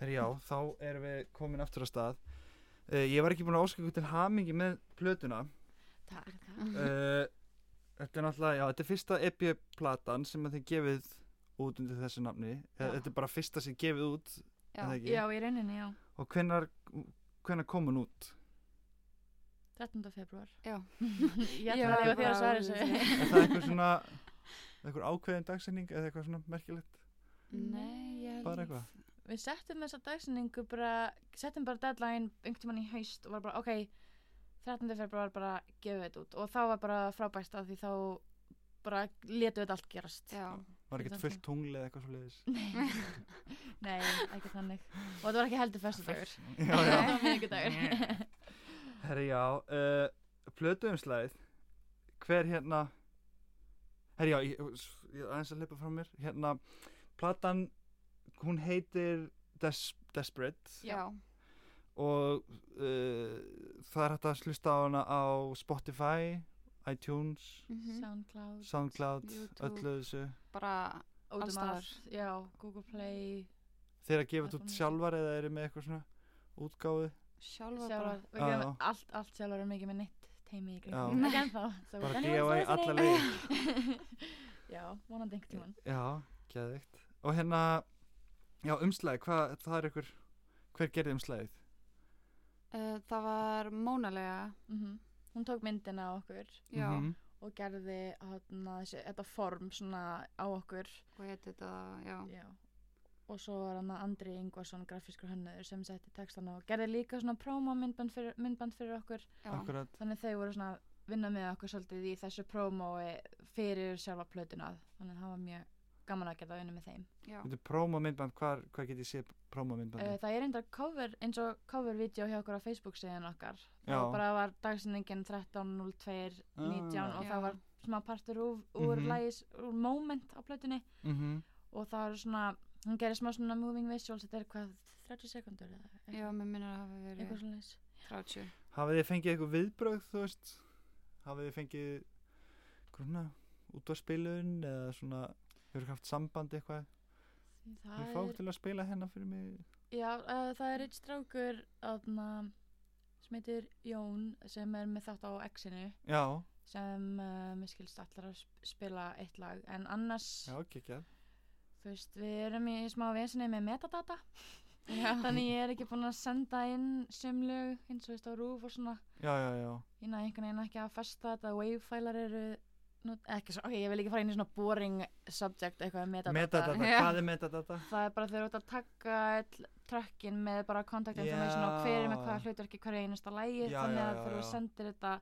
Herri já, þá erum við komin aftur á stað. Uh, ég var ekki búin að óska ykkur til hamingi með plötuna. Takk, takk. Uh, þetta er náttúrulega, já, þetta er fyrsta EP-platan sem að þið gefið út undir þessu nafni. Eh, Já. Þetta er bara fyrsta sem gefið út Já, það ekki? já, í rauninni, já. og hvenar, hvenar kom hún út? 13. februar. Já. ég ætla Já, að bara lifa þér að svara alveg þessu. Er það einhver svona, einhver ákveðin dagsetning eða eitthvað svona merkilegt? Nei, ég held Bara eitthvað? Við settum þessa dagsinningu bara, settum bara deadline einhvern tímann í haust og var bara, ok, 13. februar bara gefum við þetta út. Og þá var bara frábært að því þá bara letu þetta allt gerast. Já, Var ekkert fullt tungli eða eitthvað svo leiðis? Nei, ekki þannig. Og þetta var ekki heldur fyrstudagur. Já, Þetta já. var miðvikudagur. Herri já, uh, plötuumslæð Hver hérna Herri já, ég, ég aðeins að hleypa frá mér Hérna, platan Hún heitir Des Desperate já, Og uh, það er hægt að slusta á hana á Spotify iTunes, mhm. Soundcloud, Soundcloud YouTube. Öllu þessu bara Alls Ódumar, staðar. já, Google Play, Þeir að gefa þetta út Apple Music. sjálfar eða eru með eitthvað svona útgáfu sjálfa bara sjálfar, við gefum Já. allt, allt sjálfar erum ekki með neitt teimi í Já. gríðum, ekki ennþá. svo- Bara Þannig DIY að það er alla þannig. leið Já, vonandi einhvern tíman. Já, geðvikt Og hérna, já, umslæði Hvað, það er ykkur Hver gerði umslæðið? uh, Það var mónalega Mm Hún tók myndina á okkur Já, Mhm. og gerði hana, þessi, þetta form svona á okkur. og ég þetta, já Já. Og svo var hann Andri Ingvarsson, grafískur hönnuður, sem setti textana og gerði líka svona próma myndband fyrir, myndband fyrir okkur. Já, Akkurat Þannig þau voru svona að vinna með okkur svolítið í þessu prómói fyrir sjálfa plötuna. Þannig það var mjög gaman að geta að vinna með þeim. já, Þetta er prómamindband, hvar, hvar get ég séð Uh, prómamindbandi? það er einnig cover, eins og covervídeó hjá okkur á Facebook síðan okkar. Já. Það bara var dagsinningin 13.02.19 Ah. og Já. það var smá partur úr, úr mm Mhm. úr moment á plötunni Mm -hmm. og það var svona, hún gerir smá svona moving visuals, þetta er hvað, 30 sekundur eða eitthvað, já, mér minnir að hafa verið eitthvað svona leys. 30 Hafið þið fengið eitthvað viðbrögð, þú veist? Hafið þið fengið grunna út á spilun eða svona, hefur þið haft samband eitthvað? Hefur þið fáið Það er, til að spila hennar fyrir mig? já, uh, það er eitt strákur, þarna, sem heitir Jón, sem er með þátt á X-inu, Já, sem uh, mér skilst allar að sp- spila eitt lag, en annars... já, ekki ekki. Þú veist, við erum í smá vesinni með metadata Þannig ég er ekki búin að senda inn sömlög eins og þú veist á rúf og svona Já, já, já. Ég næði einhvern veginn ekki að festa þetta Wavefælar eru not, ekki, svo, Ok, ég vil ekki fara inn í svona boring subject eitthvað um metadata Metadata, Já. hvað er metadata? Það er bara þegar þú ert að taka all trökkin með bara contact information og Já. hver er með hvaða hlutverki hverju einasta lægi Já, Þannig já, að já, þegar þú já. sendir þetta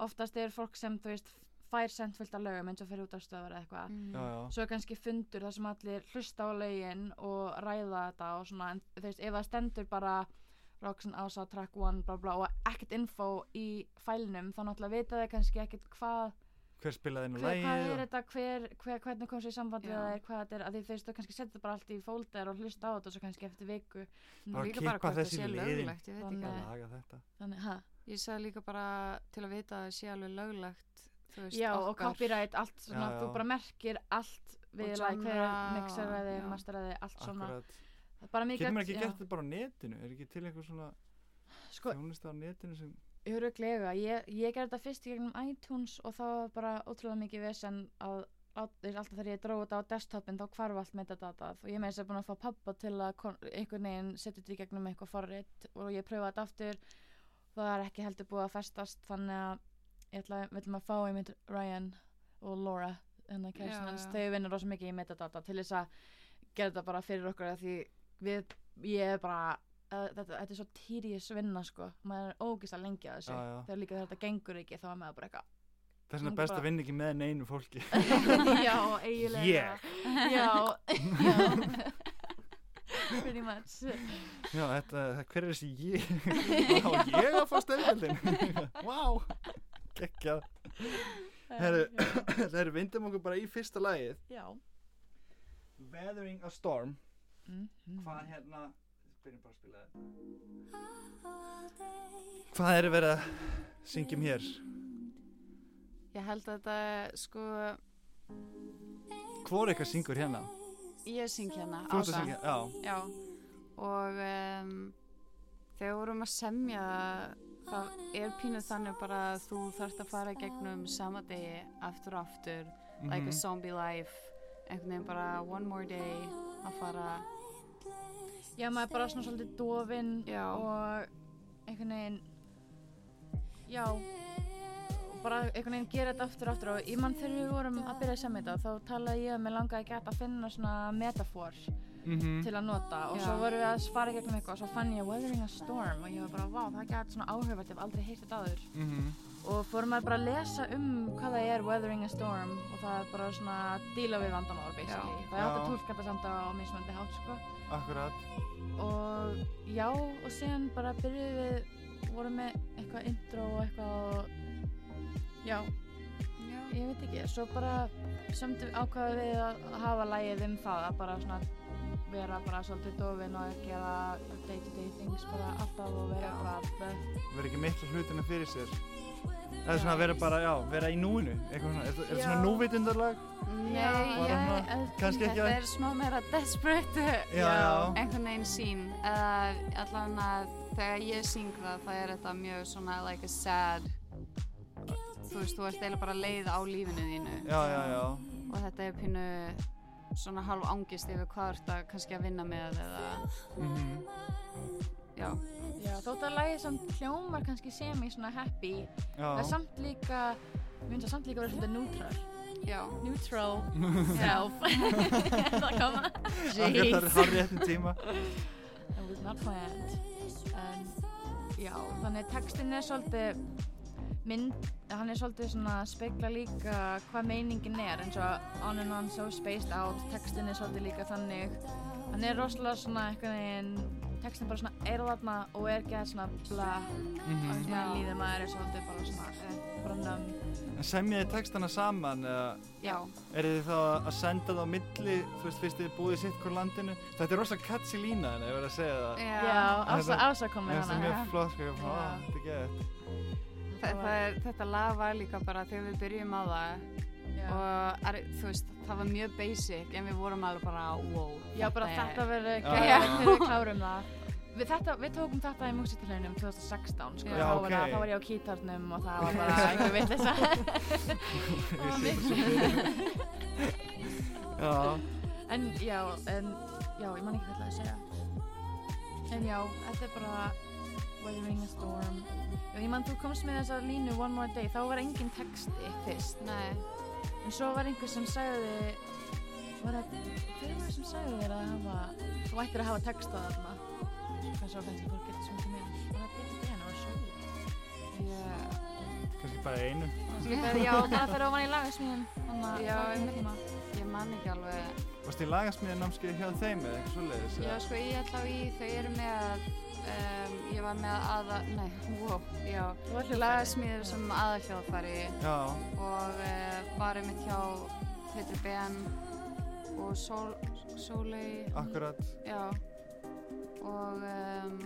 Oftast er fólk sem, þú veist, fær sent fullt af lögum eins og fyrir út af stöðar eða eitthvað Mhm. Já, já. svo er kannski fundur þar sem allir hlusta á lögin og ræða þetta og svona en þú veist, ef það stendur bara Roxanne Ása, track one, bla bla og ekkert info í fælinum þá náttúrulega vita þau kannski ekkert hvað Hver spilaði hennar hver, hvað lægið? er þetta, hver, hver, hvernig kom sér í samband við Já. það, hvað þetta er, að því þú veist, þú kannski setja þetta bara allt í folder og hlusta á þetta svo kannski eftir viku Bara Líka kippa bara hvort það þessu í sé liðinn. löglegt, ég Að veit ekki Þannig- laga þetta. þannig, ha, Ég sagði líka bara til að vita að það sé alveg löglegt þú veist, já, og okkar. copyright allt svona, Já, já. þú bara merkir allt við Og lag, hver genre og- mixeraði, já. masteraði, allt svona Akkurat. Það er bara mikið Getur maður hægt- ekki já. gert þetta bara á netinu? Er ekki til einhver svona sko, þjónlista á netinu sem... Öruglega, ég, ég gerði þetta fyrst í gegnum iTunes og það var bara ótrúlega mikið vesen að á- þú veist, alltaf þegar ég dróði þetta á desktopin þá hvarf allt metadata og ég með þess að búin að fá pappa til að kon- einhvern veginn setja þetta í gegnum eitthvað forrið og ég pröfaði þetta aftur það er ekki heldur búið að festast þannig að ég ætla að, viljum að fá einmitt Ryan og Laura hennar Já, kærsinn hans, já. þau vinnur rosa mikið í metadata til þess að gera þetta bara fyrir okkur af því við, ég er bara að, þetta, þetta er svo tedious vinna sko maður er ógist að lengja þessu Já, já. þegar líka þegar þetta gengur ekki þá er maður bara Það er svona Nú best bara- að vinna ekki með neinu fólki. eitthvað já, eiginlega Yeah. já, já pretty much Já, þetta, hver er þessi ég? Vá, ég að fá stöðveldin? Vá, geggjað. Herru, Það er vindum okkur bara í fyrsta lagið. Um, já Weathering a Storm. mm Hvað hérna, byrjum bara að spila það. Hvað er verið að syngjum hér? Ég held að þetta, sko, Hvor eitthvað syngur hérna? ég syng hérna Þú ert að Ása. syngja, já. Já, og um, þegar við vorum að semja það er pínu þannig bara að þú þarft að fara í gegnum sama degi aftur og aftur like Mhm. a zombie life einhvern veginn bara one more day að fara Já, maður er bara svona svolítið dofinn Já. og einhvern veginn, já, og bara einhvern veginn gera þetta aftur og aftur og ég mann þegar við vorum að byrja að semja þetta þá talaði ég um að mig langaði ekki að finna svona metafor Mhm. til að nota og Já. svo vorum við að fara í gegnum eitthvað og svo fann ég Weathering a Storm og ég var bara, vá, það gæti svona áhugavert, ég hef aldrei heyrt þetta áður Mhm. og fórum að bara að lesa um hvað það er Weathering a Storm og það er bara svona að díla við vandamál basically, það er hægt Já. að tólka þetta samt á mismöndi hátt sko Akkurat. og já og síðan bara byrjuðum við vorum með eitthvað intro og eitthvað og já, Já. ég veit ekki svo bara sömdu ákvaðum við að hafa lægið um það að bara svona vera bara svolítið dofin og gera day to day things bara alltaf og vera Já. bara Verið ekki miklu hlutina fyrir sér. Það er svona að vera bara, já, vera í núinu. Eitthvað svona, er, er þetta svona Já. núvitundarlag? Nei, Bara ég, svona, kannski ekki þetta að- er smá meira desperate Já, já. einhvern veginn sín eða allan að þegar ég syng það það er þetta mjög svona like a sad þú veist, þú ert eiginlega bara leið á lífinu þínu Já, já, já. og þetta er pínu svona halv angist yfir hvað ert að kannski að vinna með eða Mm já, já, þótt að lægið samt hljómar kannski sem í svona happy Já. það er samt líka mér finnst það samt líka að vera svolítið neutral já, neutral self það koma Akkurat, Það er hár réttin tíma. It was not planned. En, já, þannig textin er svolítið mynd, hann er svolítið svona að spegla líka hvað meiningin er eins og on and on so spaced out textin er svolítið líka þannig hann er rosalega svona einhvern veginn textin bara svona er þarna og er ekki að svona bla og Mhm. svona Já. líður maður er svolítið bara svona eh, bara nömm En semjið þið textana saman eða já, er þið þá að senda það á milli, þú veist, fyrst þið búið í sitt hvort landinu? Þetta er rosalega katsi lína en ég verið að segja það. já, já. ása, Þetta- ása Mér komið finnst það hana mjög flott, sko, ég var bara, Já. "Ah, þetta er gett. Þa, það er, þetta lag var líka bara þegar við byrjum á það Já. og er, þú veist, það var mjög basic en við vorum alveg bara, wow Já, bara þetta verður Já. gæðið Já. þegar við klárum það. Við, þetta, við tókum þetta í músikalunum 2016, sko, Já, þá, var ok. það, þá var ég á kýtarnum og það var bara einhver vitleysa. Ég sé mikið. þetta svo fyrir. Já, en já, en, já, ég man ekki hvað ég ætlaði að segja. En já, þetta er bara Weathering a Storm. Já, ég man, þú komst með þessa línu One More Day, þá var engin texti fyrst. Nei, En svo var einhver sem sagði, var það, hver var það sem sagði þér að hafa, þú ættir að hafa texta þarna? Hvað svo kannski fólk getur svo mikið með. Var það David Brennan, var það Sóley? ég kannski bara einu. Það er já, það fyrir ofan í lagasmíðin Þannig að Já, það er hérna. einmitt. mjög tíma Ég man ekki alveg. Varst þið lagasmíðan námskeið hjá þeim eða eitthvað svoleiðis? Já, eða? sko, ég ætla á í, þau eru með, um, ég var með aða, nei, wow, já, Þú var lagasmíður sem aðalhljóðfæri Já, og uh, var einmitt hjá Petri Ben og Sól, Sólei, akkurat. já, og um,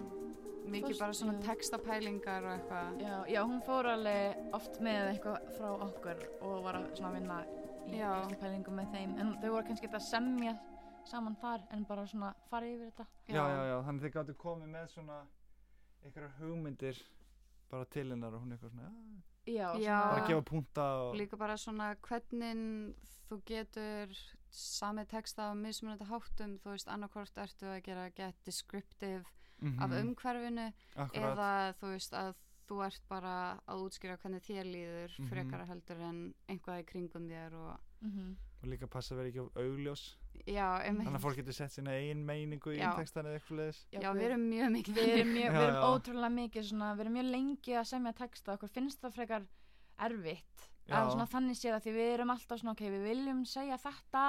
mikið Fórst- bara svona já. textapælingar og eitthvað. Já, já, hún fór alveg oft með eitthvað frá okkur og var að svona vinna í Já. pælingum með þeim en þau voru kannski ekki að semja saman þar en bara svona fara yfir þetta Já, já, já, þannig þið gáttu komið með svona einhverjar hugmyndir bara til hennar og hún eitthvað svona, já, Já, Já. bara svona, að gefa punta og... Líka bara svona hvernig þú getur sami texta á mismunandi háttum, þú veist, annarkvort ertu að gera get descriptive Mhm, af umhverfinu akkurat. eða þú veist að þú ert bara að útskýra hvernig þér líður Mhm. frekar heldur en einhvað í kringum þér og mhm. Og líka passa að vera ekki of augljós. já, einmitt Þannig að fólk getur sett sína eigin meiningu í Já. textan eða eitthvað leðis. já, við erum mjög mikið við erum, mjög, Já, við erum já. ótrúlega mikið svona, við erum mjög lengi að semja texta okkur finnst það frekar erfitt Já. að svona þannig sé það því við erum alltaf svona ok, við viljum segja þetta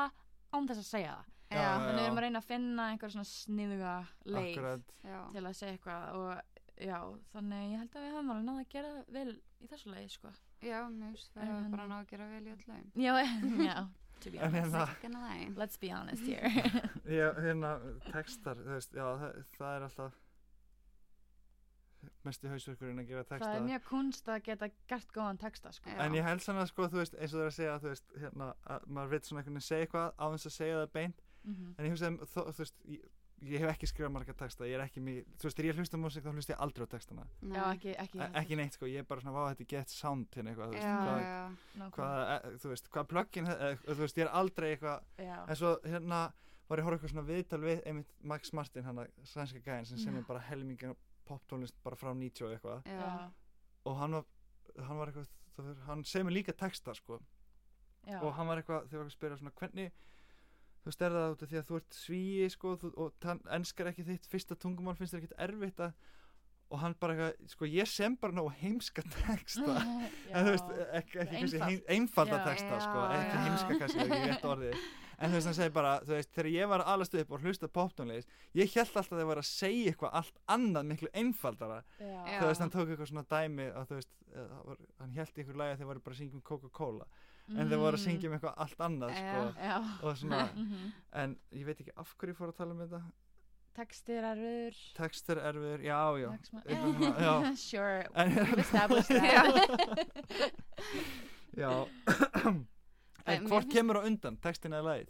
án þess að segja það Já, já, þannig við erum að reyna að finna einhver svona sniðuga leið Akkurat. já, til að segja eitthvað og já, þannig ég held að við höfum alveg náða að gera vel í þessu leið sko. já, mjög svo En hann- bara ná að gera vel í öllum já, já, to be En honest hérna, ekki næ let's be honest here já, hérna, textar, þú veist, já, það, það er alltaf mesti hausverkurinn að gera texta. það er mjög kunst að geta gert góðan texta sko. Já. En ég held svona sko, þú veist, eins og þú er að segja, þú veist, hérna, að maður vill svona einhvern veginn segja eitthvað á þess að segja það beint, Mhm. en ég hugsaði, um þó- þú veist, ég- ég hef ekki skrifað marga texta ég er ekki mjög, þú veist, þegar ég hlusta á músík þá hlusta ég aldrei á textana, já, ekki, ekki, e ekki neitt sko, ég er bara svona, vá, þetta er gett sound hérna eitthvað, þú já, veist, hvað, já, hvað, e, þú veist, hvað plugin, e, þú veist, ég er aldrei eitthvað, já, en svo hérna var ég að horfa á eitthvað svona viðtal við, einmitt Max Martin, hann að sænska gæðin sem sem Já. er bara helmingin poptónlist bara frá 90 og eitthvað já, já, og hann var, hann var eitthvað, þú veist, hann semur líka texta sko já, og hann var eitthvað, þegar var eitthvað að spyrja svona hvernig þú veist, er það út af því að þú ert svíi sko, þú, og tann, enskar ekki þitt fyrsta tungumál finnst þér ekkit erfitt að og hann bara eitthvað, sko ég sem bara ná heimska texta sko. en þú veist, e-, ekki, ekki kannski Mhm. heim, Einfalt. einfalda Já. texta sko, Já, ekki já. heimska kannski það er ekki rétt orðið en þú veist, hann segir bara, þú veist, þegar ég var að alast upp og hlusta poptónleis, ég held alltaf að það var að segja eitthvað allt annað miklu einfaldara já, þú Já. veist, hann tók eitthvað svona dæmi að þú veist, eh, það var, hann held ykkur lagi að þeir voru bara að syngja um Coca-Cola en þeir voru að syngja um eitthvað allt annað sko, Mm. Já. Mm. já, og svona, mhm. en ég veit ekki af hverju ég fór að tala um þetta, textir að röður textur erfiður, já, já eitthvað svona, já. já, sure en, we've established Já. that já Nei, en mér hvort finnst- kemur á undan, textin eða lagið,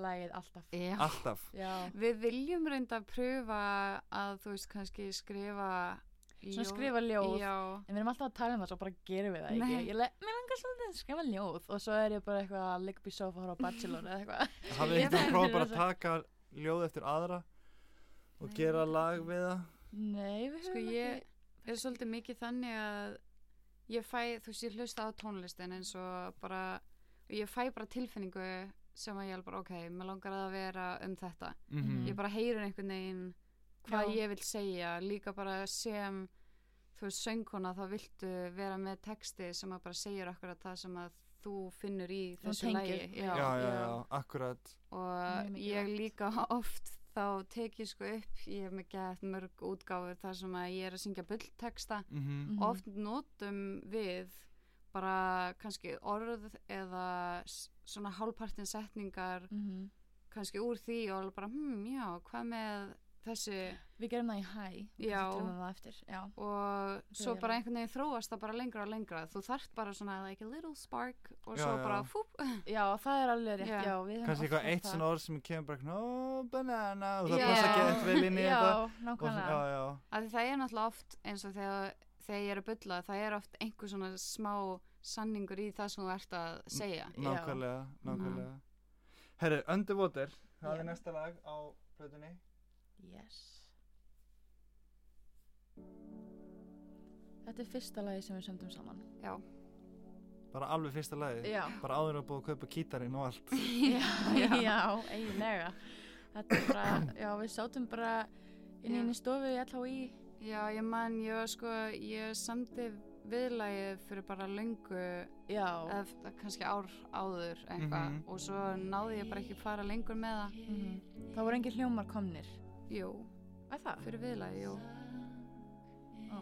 lagið alltaf já. alltaf já, Við viljum reynda að pröfa að þú veist kannski skrifa svona skrifa ljóð Já, en við erum alltaf að tala um það svo bara gerum við það ekki Nei. ég le- mér langar svolítið að skrifa ljóð og svo er ég bara eitthvað að ligga upp í sofa og horfa á Bachelor eða eitthvað hafið Ég eitthvað finn prófað bara fyrir að taka ljóð eftir aðra og Nei, gera ég veit lag ekki. við það nei, við sko höfum ég er svolítið mikið þannig að ég fæ, þú veist, ég hlusta á tónlistin eins og bara, ég fæ bara tilfinningu sem að ég er bara, ok, mér langar að vera um þetta. Mhm. Ég bara heyrir einhvern veginn hvað Já. ég vil segja, líka bara sem, þú veist, söngkona, þá viltu vera með texti sem að bara segir akkurat það sem að þú finnur í þessu tengir. lægi. já, já, já, já. akkurat Mjög og ég mikilvægt. líka oft þá tek ég sko upp, ég hef mikið haft mörg útgáfur þar sem að ég er að syngja bullteksta mm Mhm. og oft notum við bara kannski orð eða s- svona hálfpartin setningar Mhm. kannski úr því og alveg bara hmm, já, hvað með þessu við gerum það í hæ og Já. kannski tölum við það eftir já, og svo Byrjar bara að- einhvern veginn þróast það bara lengra og lengra þú þarft bara svona like a little spark og Já, svo já. bara fúp já það er alveg rétt Já. já, við höfum kannski oft eitthvað gert eitt það. svona orð sem kemur bara no banana og það Já. passa ekki eftir vel inn í já, þetta og svona, nákvæmlega já, já, að því það er náttúrulega oft eins og þegar, þegar ég er að bylla það er oft einhver svona smá sanningur í það sem þú ert að Mm. segja nákvæmlega, nákvæmlega herru, Underwater það Mhm. Já. er næsta lag á plötunni yes þetta er fyrsta lagi sem við sömdum saman já, bara alveg fyrsta lagi já, bara áður að búið að kaupa kítarinn og allt já, já eiginlega þetta er bara, já við sátum bara inn í Já. einu stofu í LHÍ já ég man, ég var sko ég samti viðlægið fyrir bara löngu já, eða f- kannski ár áður eitthvað Mhm. og svo náði ég bara ekki fara lengur með það mm það voru engin hljómar komnir jú, að það? fyrir viðlægið, jú Ó.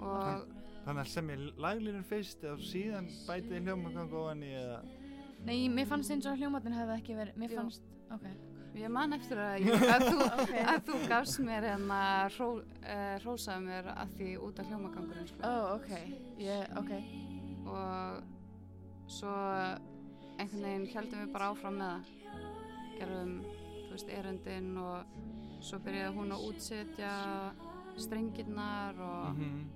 og þannig að sem ég laglínur fyrst og síðan bætið hljómagang ofan í eða nei, mér fannst eins og hljómarnir hefði ekki verið mér Jú. fannst, ok ég man eftir að, ég, að, þú, Ok. að þú gafst mér hérna hró, uh, rósaði mér að því út af hljómagangurinn sko. Ah. ó, Oh, ok, ég, ok og svo einhvern veginn heldum við bara áfram með það gerðum, þú veist, erindin og svo byrjaði hún að útsetja strengirnar og Mhm.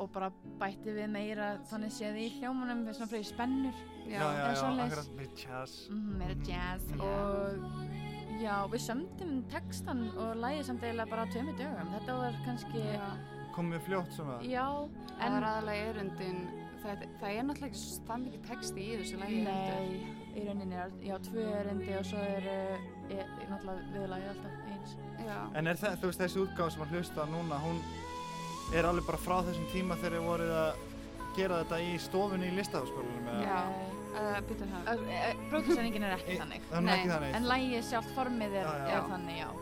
og bara bætti við meira þannig séð í hljómanum við svona fyrir spennur já, já, eða já, svoleiðis. akkurat með jazz mm, meira Mhm. jazz Mhm. og já, við sömdum textan og lægið samt eiginlega bara á tveimur dögum þetta var kannski, já. komið fljótt svona Mhm. já það en var aðalega erindin það, það er náttúrulega ekki s- það mikið texti í þessu lagi heldur. Nei, í rauninni er, já, tvö erindi og svo er, er náttúrulega viðlagið alltaf eins. já, En er það, þú veist, þessi útgáð sem að hlusta á núna, hún er alveg bara frá þessum tíma þegar þið voruð að gera þetta í stofunni í listaháskólanum eða? Já. uh, býta E, Eh. það Brókisæningin er ekki Í- þannig. Það er nú ekki Nei, þannig. En lægið sjálft formið er, Já, já. er þannig, já.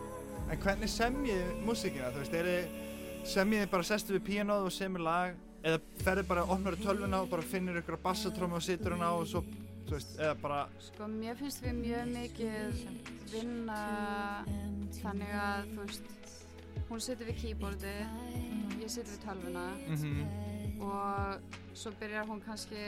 En, hvernig semjið þið músíkina, þú veist, er þið semjið þið bara sestu við píanóð og semjið lag eða ferðið bara, opnar tölvuna og bara finnir ykkur bassatrómi og situr hún á og svo, þú veist, eða bara, sko, mér finnst við mjög mikið vinna þannig að, þú veist hún setur við keyboardi Mhm. ég setur við tölvuna mm og svo byrjar hún kannski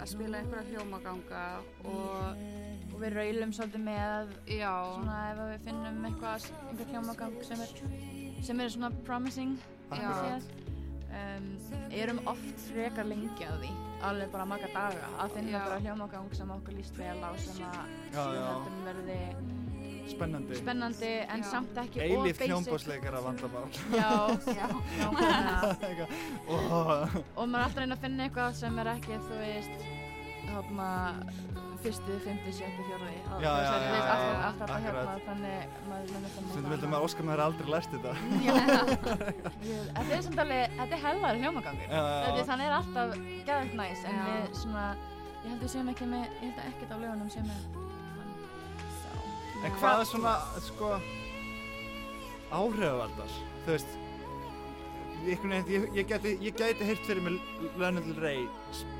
að spila einhverja hljómaganga og, og við raulum svolítið með já, svona ef að við finnum eitthvað einhver hljómagang sem er sem er svona promising Já. Akkurat. séð um, erum oft frekar lengi að því alveg bara marga daga að finna Já. bara hljómagang sem okkur líst vel á sem að Já, við já. heldum verði Spennandi. spennandi en Já. samt ekki of Eilíft basic hljómbásleikar að vandamál. já, já, nákvæmlega. Ó, og maður er alltaf að reyna að finna eitthvað sem er ekki þú veist hopna, fyrsti, fymti, sjötti, fjórði á- Já, þú já, veist, já, alltaf- já, já. alltaf að hjálpa Akkurat. hérna, þannig maður er alltaf Stundum veldur maður óskar maður hafi aldrei lært þetta. Ég- Þetta er samt alveg, þetta er helvar hljómagangur. Já, Þetta já, er þannig er alltaf geðvægt næs, en Já. við svona, ég held við séum ekki með, ég held að ekkert á lögunum séum með hann. Sá. En hvað er svona, sko, áhrifavaldar? Þú veist, einhvern veginn, ég, ég gæti, ég gæti heyrt fyrir mig Leonard Ray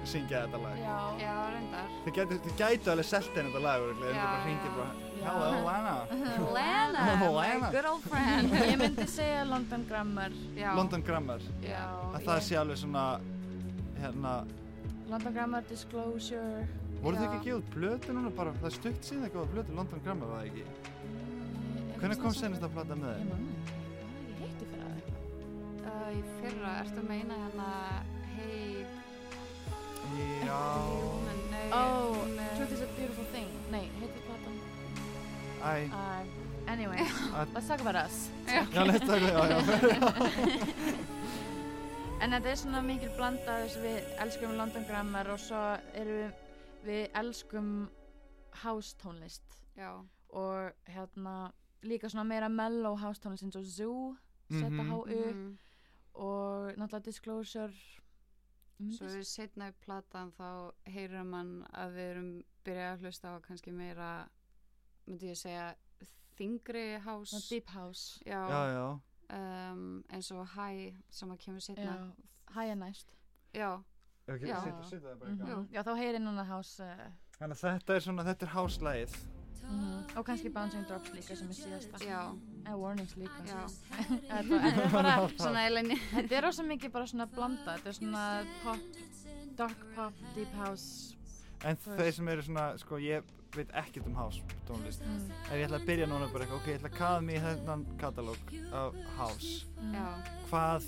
syngja þetta lag. Já. já, reyndar Þið gætu, þið gætu alveg selt henni þetta lag, örugglega, ef Já, þið bara hringir já. bara, Já. hello, Lana. Lana, Lana. my good old friend Ég myndi segja London Grammar. já, London Grammar. já, Að það sé alveg svona, hérna, London Grammar Disclosure. voru þið Já. ekki að gefa út blötu núna bara, það er stutt síðan þið gáðu blötu London Grammar, var það ekki? Mm, Hvernig er kom það senast samt- að plata með Ég þeim? man það ekki. Var það ekki uh, heitt í fyrra eða eitthvað? í fyrra, ertu að meina hérna hey, hey Já, woman, nei Oh, hún er- Truth is a beautiful thing. Nei, heitir platan. æ, Uh, anyway, let's talk about us. já, let's talk, já, já, En þetta er svona mikil blanda þess að við elskum London Grammar og svo erum við, við elskum house tónlist já, og hérna líka svona meira mellow house tónlist eins og Zoo, Mhm. ZHU mhm. og náttúrulega Disclosure. Ég myndi Svo við setna upp platan þá heyrir mann að við erum byrjað að hlusta á kannski meira myndi ég segja þingri hás Svona deep house. já, já, já. Um, eins og hæ sem að kemur setna Já, hæja næst. já, Ok, Já. setja- setja það bara í Mhm. gang. Já, þá heyri núna house uh, Þannig að þetta er svona, þetta er háslægið. mhm. og kannski Bouncing Drops líka sem er síðasta. já, Eða Warnings líka. já. Þetta þetta er bara svona eilenni Þetta er rosa mikið bara svona blanda, þetta er svona pop, dark pop, deep house. En þeir Þú veist. sem eru svona, sko, ég veit ekkert um house tónlist. Mm, Ef ég ætla að byrja núna bara eitthvað, ok, ég ætla að kaða mig í þennan katalóg af house. mm. já, Hvað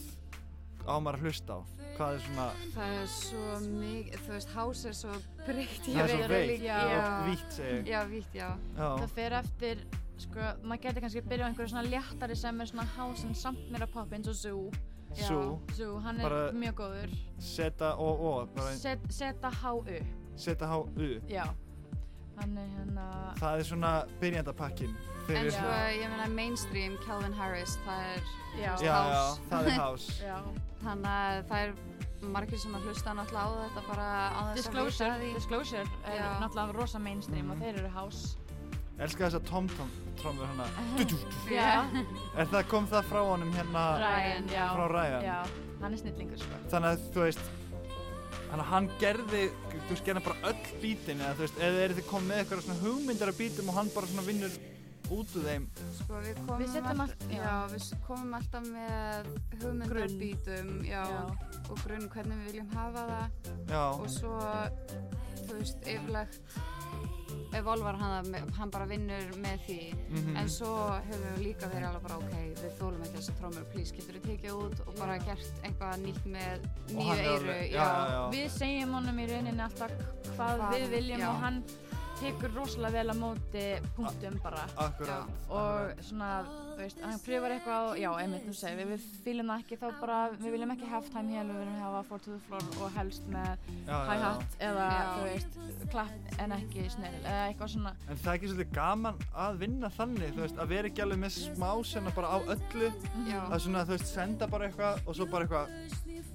á maður að hlusta á? Hvað er svona, það er svo mikið þú veist, hás er svo breytt það er svo veit veikt líka, og já. vítt segja. já, vítt, já, Já, Það fer eftir, sko, maður getur kannski að byrja á einhverju svona léttari sem er svona house en samt meira pop eins og Zoo. já. svo, Zoo, hann er Bara- mjög góður. seta og o, bara Set, seta H.U. seta h-u. Já, hann er hérna, Það er svona byrjandapakkin. Þeir en eru Já. svo, svona, ég meina mainstream Calvin Harris, það er já, já, já, house. það er house. já. þannig að það er margir sem að hlusta náttúrulega á þetta bara á þess að hlusta Disclosure, því Disclosure er Já. náttúrulega rosa mainstream og Mhm. þeir eru house. Elskar þess að tom-tom, trommur hana. Já, hérna. Er það, kom það frá honum hérna, Ryan, já. frá Ryan? Já, hann er snillingur, sko. þannig að þú veist þannig að hann gerði þú veist gerði bara öll bítin eða þú veist eða eru þið komið með eitthvað svona hugmyndar af bítum og hann bara svona vinnur út úr þeim sko, við komum Við setjum alltaf, allt- já. já. við s- komum alltaf með Grunn. hugmyndarbítum já, og grunn hvernig við viljum hafa það já, og svo þú veist yfirlegt evolvar hann, það með- hann bara vinnur með því mhm, en svo hefur við líka verið alveg bara ok við þólum ekki þessu trómur, please getur við tekið út og bara gert eitthvað nýtt með Og nýju hann er eyru alveg- já, já, já, Við segjum honum í rauninni alltaf hvað Hvað- við viljum já. og hann tekur rosalega vel á móti punktum bara akkurat og svona, þú veist, hann pröfar eitthvað og já, einmitt, þú segir, við, við fýlum það ekki þá bara, við viljum ekki halftime hér, við viljum hafa 4 to the floor og helst með já, já, já. hi-hat eða, Já. þú veist, klapp en ekki snell eða eitthvað svona, en það er ekki svolítið gaman að vinna þannig þú veist að vera ekki alveg með smá sena bara á öllu já, að svona þú veist senda bara eitthvað og svo bara eitthvað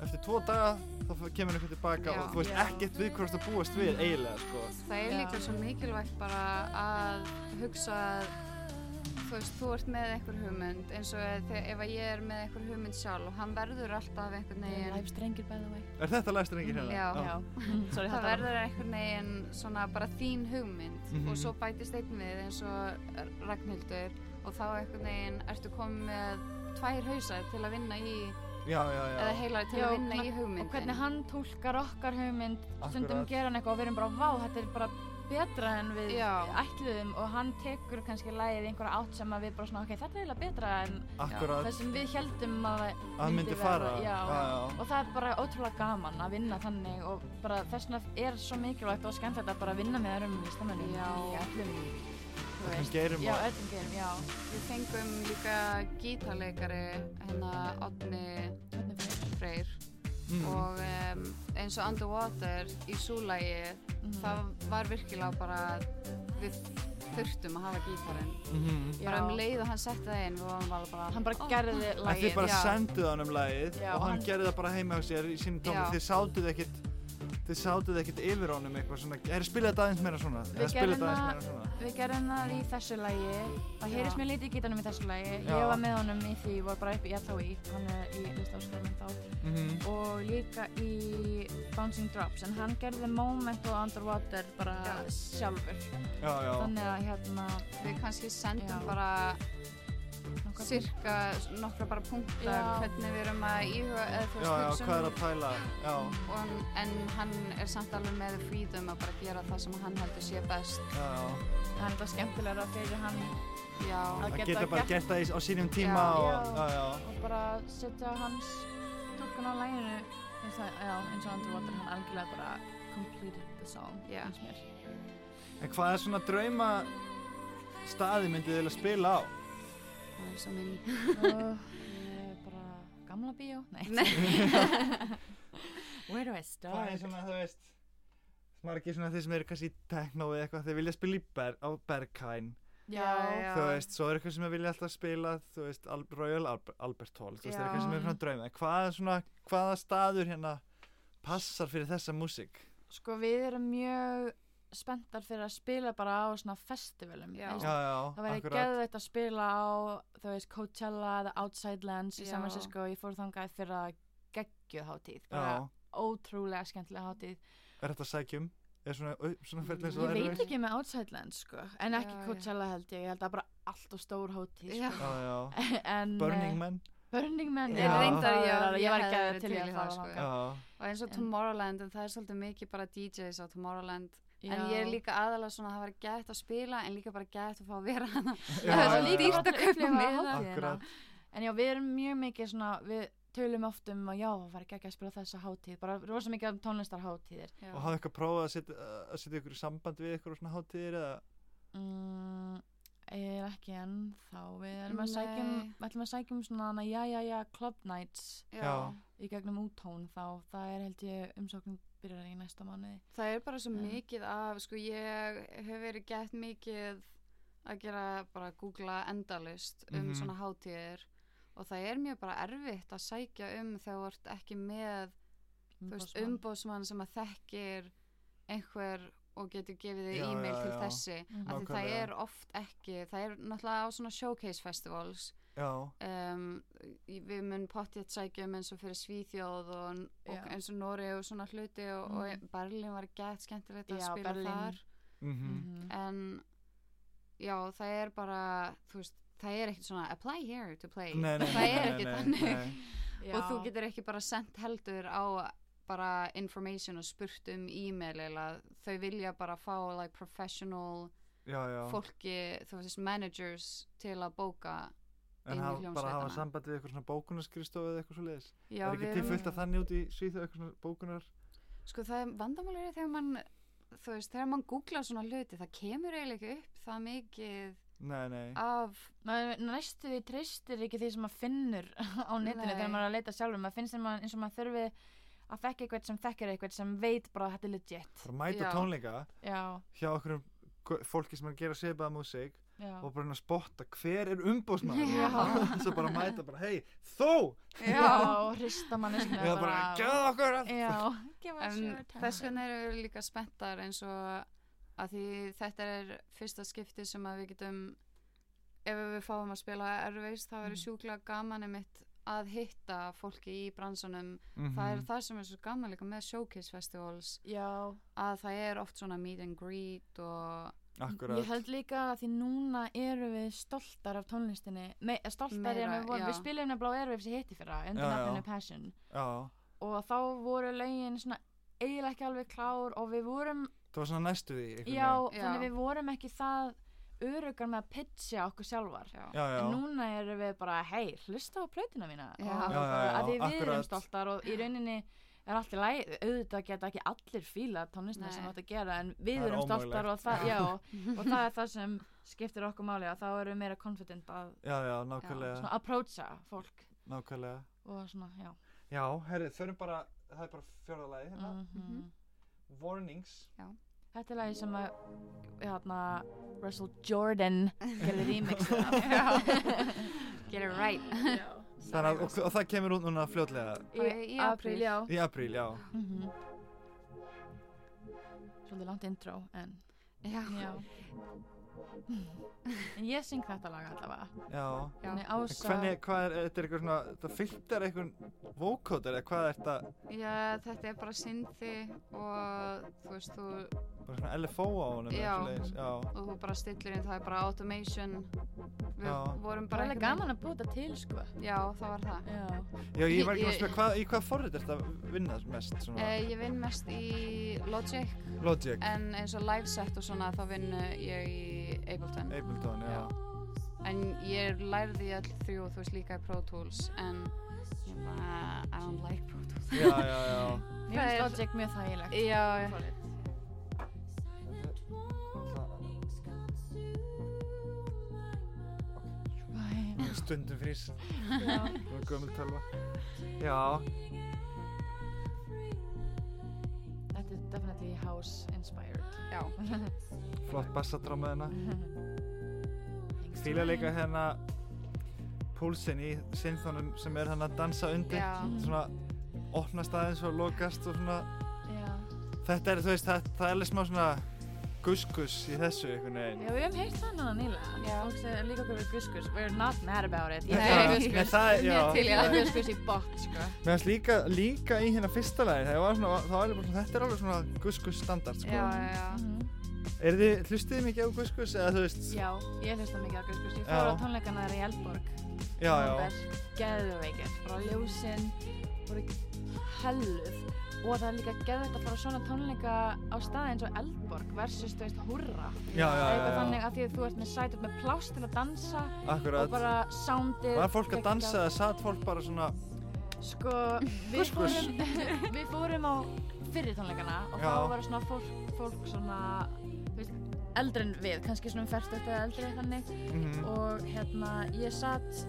eftir tvo daga þá f- kemur eitthvað tilbaka Já. og þú veist Já. ekkert við hvort að búast við eiginlega sko Það er Já. líka svo mikilvægt bara að hugsa að þú veist, þú ert með einhver hugmynd eins og þegar, ef að ég er með einhver hugmynd sjálf og hann verður alltaf einhvern veginn live strengir Mm. by the way er þetta læstur enginn hérna? Já. Já, Mm, sorry, það þetta var verður einhvern veginn svona bara þín hugmynd Mhm. og svo bætist einn við eins og Ragnhildur og þá einhvern veginn ertu komið með tvær hausa til að vinna í já, já, já. eða heilar til Já, að vinna og í og hugmyndin hvernig hann tólkar okkar hugmynd, stundum Akkurat. gera hann eitthvað og við erum bara, vá, þetta er bara betra en við Já. ætluðum og hann tekur kannski lagið í einhverja átt sem að við bara svona, ok, þetta er eiginlega betra en akkurat það sem við heldum að það að myndi vera, fara já. já, og það er bara ótrúlega gaman að vinna þannig og bara þess vegna er svo mikilvægt og skemmtilegt að bara vinna með öðrum listamönnum Já. í öllum þú Það veist. kannski erum já, að- öllum gerum, já Við fengum líka gítarleikari hérna Otni Hvernig fyrir? Freyr mm, og um, eins og Underwater í súlægi Mhm. það var virkilega bara við þurftum að hafa gítarinn mhm. bara Já. um leið og hann setti það inn við varum bara bara "Oh hann bara gerði En þið lagið bara já. senduð hann um lagið Já, og hann, hann- gerði það bara heima á sér í sínum tómi. Já. Þið sátuð ekkit, þið sátuð ekkit yfir honum eitthvað svona. Er spilað þetta aðeins meira svona? Við Eða spilað gerðum þetta aðeins það- meira svona? Við gerðum það í þessu lagi, það heyrðist Já. mér lítið í gítanum í þessu lagi, Já. ég var með honum í því, var bara upp í LHI, hann er í listáskólanum þá, Mhm. og líka í Bouncing Drops, en hann gerði Moment og Underwater bara Já. sjálfur, Já, já. þannig að hérna, við kannski sendum Já. bara nokkar- cirka nokkra bara punktar Já. hvernig við erum að íhuga eða þú Já, já, veist um hvað er að pæla? Já, og, en hann er samt alveg með freedom að bara gera það sem hann heldur sé best já, já. það er þetta skemmtilegra fyrir hann já, Að Að geta geta bara gert- gert það í- á sínum tíma Já. og, já, Já. já. og bara setja hans tólkun á laginu, eins og, já, eins og Underwater, hann algjörlega bara completed the song, Já. finnst mér. En hvað er svona drauma staði myndið þið vilja spila á? það er svo minn Ó, ég er bara gamla bíó, nei Where do Hvað I er start? svona, þú veist, margir svona þeir sem eru kannski í tekno eða eitthvað, þeir vilja spila í ber, á Berghain. Já, þú veist, svo er eitthvað sem ég vilja alltaf spila þú veist, Al Royal Albert, Albert Hall þú veist, það er eitthvað sem er svona drauma hvað er svona, hvaða staður hérna passar fyrir þessa músík sko við erum mjög spenntar fyrir að spila bara á svona festivalum Já. eins já, og- já, Það væri akkurat geðvægt að spila á, þú veist, Coachella eða Outside Lands í Já. San Francisco, ég fór þangað fyrir að geggjuð hátíð, bara já, ótrúlega skemmtilega hátíð. er þetta sækjum? er svona, au, svona ferðlega Svo Ég svo erum veit við- ekki með Outside Lands, sko, en ekki Já, já. Coachella held ég, ég held að bara allt og stór hátíð, Já. sko. já, já, En, eh, Burning Man Burning Man Ég reyndar, já, ég, ég var hefði ekki verið að til í að fara sko. þangað. já, og eins og En- Tomorrowland en það er svolítið mikið bara DJs á Tomorrowland en ég er líka aðalega svona að það var gætt að spila en líka bara gætt að fá að vera hana já, það er svo já, líka já. gott að upplifa miða. hátíðina Akkurat. en já, við erum mjög mikið svona við tölum oft um að já, það var ekki að spila þessa hátíð bara rosa mikið um tónlistarhátíðir og hafðu eitthvað prófað að setja, að setja ykkur í samband við ykkur og svona hátíðir eða mm, ég er ekki enn þá við erum að Nei. sækjum við ætlum að sækjum svona hana, já, já, já, club nights Já. í gegnum útón þá það er held ég umsóknum byrjar í næsta mánuði það er bara svo Mm. mikið af sko ég hef verið gætt mikið að gera bara að googla endalust um Mhm. svona hátíðir og það er mjög bara erfitt að sækja um þegar þú ert ekki með þú veist, um- umbóðsmann sem að þekkir einhver og getur gefið þig Já, e-mail já, til já. þessi Mm. af því það Nákvæmlega. er oft ekki það er náttúrulega á svona showcase festivals já, um, í- við mun pottjætt sækjum um eins og fyrir Svíþjóð og, Já. og eins og Nóri og svona hluti og, Mhm. og Berlín var gett skemmtilegt að Já, spila Berlín. þar mhm Mhm. en já það er bara þú veist það er ekkert svona apply here to play Nei, nei, það nei, er nei, ekki nei, þannig nei. Mhm. og þú Já. getur ekki bara sendt heldur á bara information og spurt um e-mail eða þau vilja bara fá like professional já, já, fólki, þú veist managers til að bóka en inn í hafa- bara hafa hljómsveitina. samband við eitthvað svona bókunarskristofu eða eitthvað svo leiðis já, er ekki við til erum- fullt af þannig út í Svíþjóð eitthvað svona bókunar Sko það er vandamálið þegar mann, þú veist, þegar mann googlar svona hluti, það kemur eiginlega ekki upp það mikið nei, nei, af, maður næstu því treystir ekki því sem maður finnur á netinu Nei. þegar maður er að leita sjálfur maður finnst sem maður, eins og maður þurfi að þekka eitthvað sem þekkir eitthvað sem veit bara að þetta er legit bara mæta Já. já. tónleika já, hjá okkur fólki sem er að gera svipaða músík já, og bara hérna að spotta hver er umbóðsmaður Já. svo bara mæta bara hei þú já og hrista mann eða bara gæða okkur að já, give us en your þess time vegna erum við líka spenntar eins og að því þetta er fyrsta skipti sem að við getum, ef við fáum að spila erfis, það verður sjúklega gaman einmitt að hitta fólki í bransunum. Mhm, Það er það sem er svo gaman líka með Showcase Festivals, já, að það er oft svona meet and greet og... akkurat ég held líka að því núna eru við stoltar af tónlistinni Me, stoltar Meira, erum við vorum, já. við spilum nefnilega á Airwaves í hitti fyrra undir Já, já. nafninu Passion já, og þá voru lögin svona eiginlega ekki alveg klár og við vorum það var svona næstu því einhvern já, veginn. þannig Já. við vorum ekki það örugar með að pitcha okkur sjálfar já. já, já, en núna erum við bara, hei, hlusta á plötuna mína Já. og Já, já, já, að því við erum akkurat. stoltar og í rauninni er allt í læg, auðvitað geta ekki allir fíla tónlistina Nei. sem átt að gera en við Það er erum stoltar ómögulegt. og það, já, og það er það sem skiptir okkur máli að þá erum við meira confident að já, já, nákvæmlega svona approacha fólk nákvæmlega og svona, já já, herri, þau eru bara, það er bara fjörðalagi hérna, mhm. warnings Þetta er lagi sem að hérna, Russell Jordan gerði remix af Get it right Þannig, að- og, og það kemur út núna fljótlega Bara í apríl. já í apríl, já, Mhm. Svolítið langt intro en Já, já En ég syng þetta lag allavega já Já. Þannig En ása Hvernig, hvað er, þetta er eitthvað svona, þetta fylgdar eitthvað vókóter eða hvað er þetta, Já, þetta er bara syndi og þú veist, þú, bara svona LFO á honum eða Já. svoleiðis? já, og þú bara stillir inn, það er bara automation. Við Já. vorum Það er bara... alveg einhvern gaman að búta til sko veginn- Já, það var það. Já já, ég var ekki Ég- að spila, hvað, í hvað forrið er þetta að vinna mest svona, Eh, ég vinn mest í Logic, Logic, en eins og liveset og svona, þá vinn eh, ég í Ableton. Ableton, já, Já. En ég lærði í öll þrjú, þú veist, líka í Pro Tools, en ég bara, I don't like Pro Tools. já, já, já, já. Það Mér finnst er- Logic mjög þægilegt Já, já. Solid. Æ, stundum frýs, já. gömul tölva, já, Þetta er definitely house inspired já. flott bassadráma þarna, fíla líka hérna púlsinn í sinnþónum sem er hann að dansa undir, Já. svona, opnast aðeins og lokast og svona, Já, Þetta er, þú veist, það, það er alveg smá svona gus-gus í þessu einhvern veginn. já við hefum heyrt það núna nýlega Já. Fólk segir líka okkur við guskus We're not mad about it Nei, Ég fíla það, guskus. nei, það er, já. Ég til í það að er- guskus í bótt sko Mér finnst líka, líka í hérna fyrsta lagi, það var svona, það var alveg bara svona, þetta er alveg svona gus-gus standard, sko. Já, já, já. Mhm. Er þið, hlustið þið mikið á gus-gus, eða þú veist, Já, ég hlusta mikið á guskus Ég Já. fór á tónleikana þeirra í Eldborg já, já, Geðveikir Bara ljósin voru helluð Og það er líka geðveikt að fara á svona tónleika á staði eins og Eldborg versus, þú veist, hurra já, já, Það er eitthvað já, þannig já, að því að þú ert með sætið með pláss til að dansa og akkurat. bara soundið Var fólk að geggjað. dansa eða satt fólk bara svona, Sko, við Guss, guss. fórum, við fórum á fyrri tónleikana og Já. þá var svona fólk, fólk svona, þú veist, eldri en við, kannski svona um ferstugt eða eldri þannig mhm, og hérna ég satt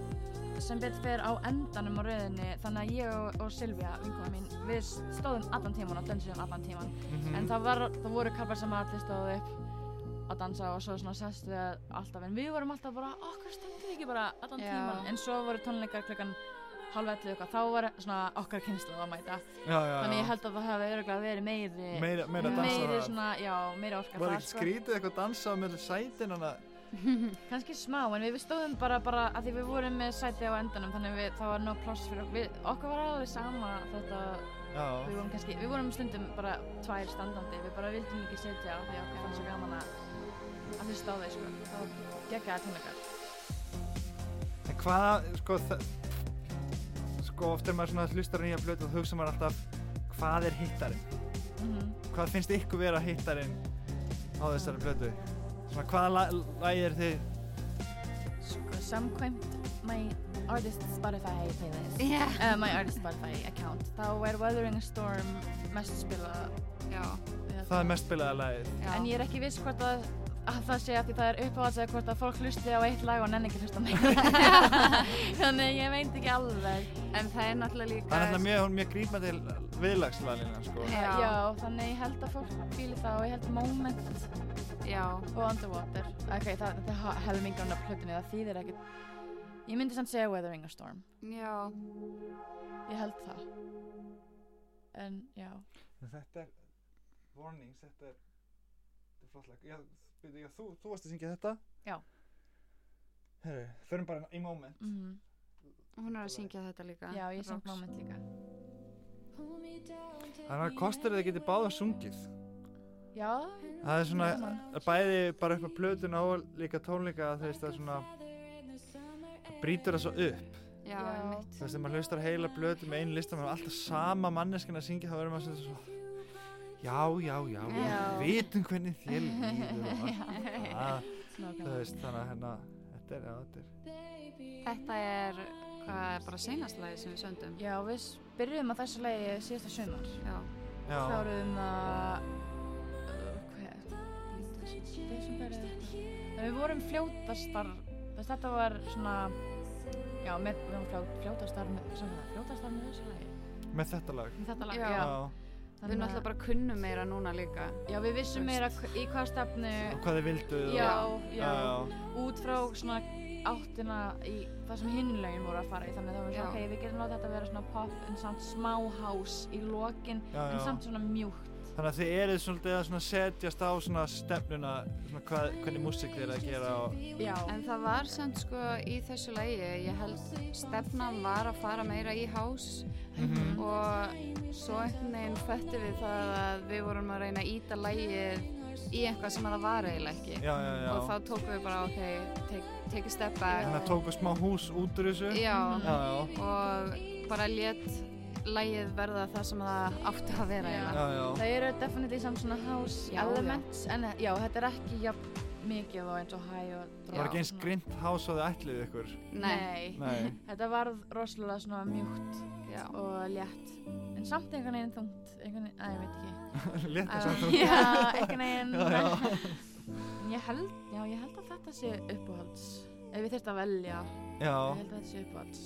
sem betur fer á endanum á rauðinni þannig að ég og, og Silvia, vinkona mín, við stóðum allan tíman og dönsuðum allan tíman en mhm, það, var, það voru karpar sem allir stóðu upp að dansa og svo svona sest við alltaf en við vorum alltaf bara, okkar stendur við ekki bara allan Já. tíman en svo voru tónleikar klukkan halv ellu eitthvað, þá var svona okkar kynslu að mæta já, já, þannig ég já, held að það hefði öruglega verið meiri meira, meira dansa meiri það. svona, já, meiri orka Var þar, sko. ekki skrítið eitthvað dansa á meðal sætin hana? kannski smá, en við stóðum bara, bara að því við vorum með sæti á endanum þannig við, það var nóg pláss fyrir okkur við, okkur var alveg sama þetta Já, við vorum kannski, við vorum stundum bara tvær standandi, við bara vildum ekki setja af því okkur fannst svo gaman að að þið stóðu, sko, þá geggaði tónleikar En hvaða, sko, þa- sko oft er maður svona hlustar á nýja blötu og hugsa maður alltaf hvað er hittarinn? mm Hvað finnst ykkur vera hittarinn á þessari blötu? Svona hvaða la- lagi er þið? sko, samkvæmt my artist Spotify playlist Já. uh, my artist Spotify account þá er Weathering a Storm mest hérna. spila Já, Það er mest spilaða lagið. já. en ég er ekki viss hvort að, að það sé af því það er uppáhalds eða hvort að fólk hlusti á eitt lag og nenni ekki hlusta á mig þannig ég veit ekki alveg En það er náttúrulega líka... Það er alltaf mjög, hún er mjög gríma til viðlagsvalina, sko. Já. þannig ég held að fólk fíli það og ég held Moment Já, og Underwater ok, það, þetta er helmingan af plötunni það þýðir ekkert ég myndi samt segja Weathering a Storm já. ég held það en já Þetta er, warnings, þetta er, þetta er flott lag. Já, byrju, já, þú, þú varst að syngja þetta? Já. Herru, förum bara í moment. mm Hún er að syngja þetta líka. Já, ég syng Rox. moment líka. Þannig að kostur þið getið báða sungið. Já, Það er svona bæði bara upp á plötuna og líka tónleika að þú veist að svona brýtur það svo upp Já, Já. einmitt. þú veist þegar maður hlustar á heila plötu með einu listamann og alltaf sama manneskinn að syngja þá verður maður svona svo já, já, já, Já. við vitum hvernig þér líður og allt það, þú Nákvæmlega. veist, þannig að hérna, þetta er, já, þetta er, Þetta er hvað er bara seinasta lagi sem við söndum. Já, við s- byrjuðum á þessu leiði síðasta sumar Já. já, kláruðum að uh, hvað er desember eða eitthvað. við vorum fljótastar þess þetta var svona já, með, við vorum fljó, fljótastar með, sem það, fljótastar með þessu lagi með þetta lag, með þetta lag, Já. já, Við Þannig náttúrulega að- bara kunnum meira núna líka. já, við vissum meira hv- í hvað stefnu og hvað þið vildu og- já, já, já, út frá svona áttina í það sem hinlaugin voru að fara í þannig að það var svona, Já. ok, við getum látað þetta vera svona pop en samt smá house í lokin já, en já. samt svona mjúkt þannig að þið eruð svolítið að svona setjast á svona stefnuna, svona hvað, hvernig músík þið er að gera og, já, En það var samt sko í þessu lagi, ég held stefnan var að fara meira í hás Mhm. og svo einhvern veginn fættu við það að við vorum að reyna að íta lagið í eitthvað sem það var eiginlega ekki. já, já, já, Og þá tókum við bara, ok, take, take a step back. þannig að tóku smá hús út úr þessu, Já, Mhm. já, já, og bara létt lagið verða það sem það átti að vera Já. eiginlega. já, já, Það eru definitely samt svona house Já, elements en eh, já, þetta er ekki jafn mikið og eins og high og drop. var ekki eins svona. grint hás og þið ætluðu ykkur, Nei, Nei. nei, Þetta varð rosalega svona mjúkt já. og létt en samt einhvern veginn þungt einhvern veginn, að ég veit ekki létta Já. samt Já, einhvern veginn Já, já. En Ég held, já, ég held að þetta sé uppáhalds ef ég þurft að velja Já, ég held að þetta sé uppáhalds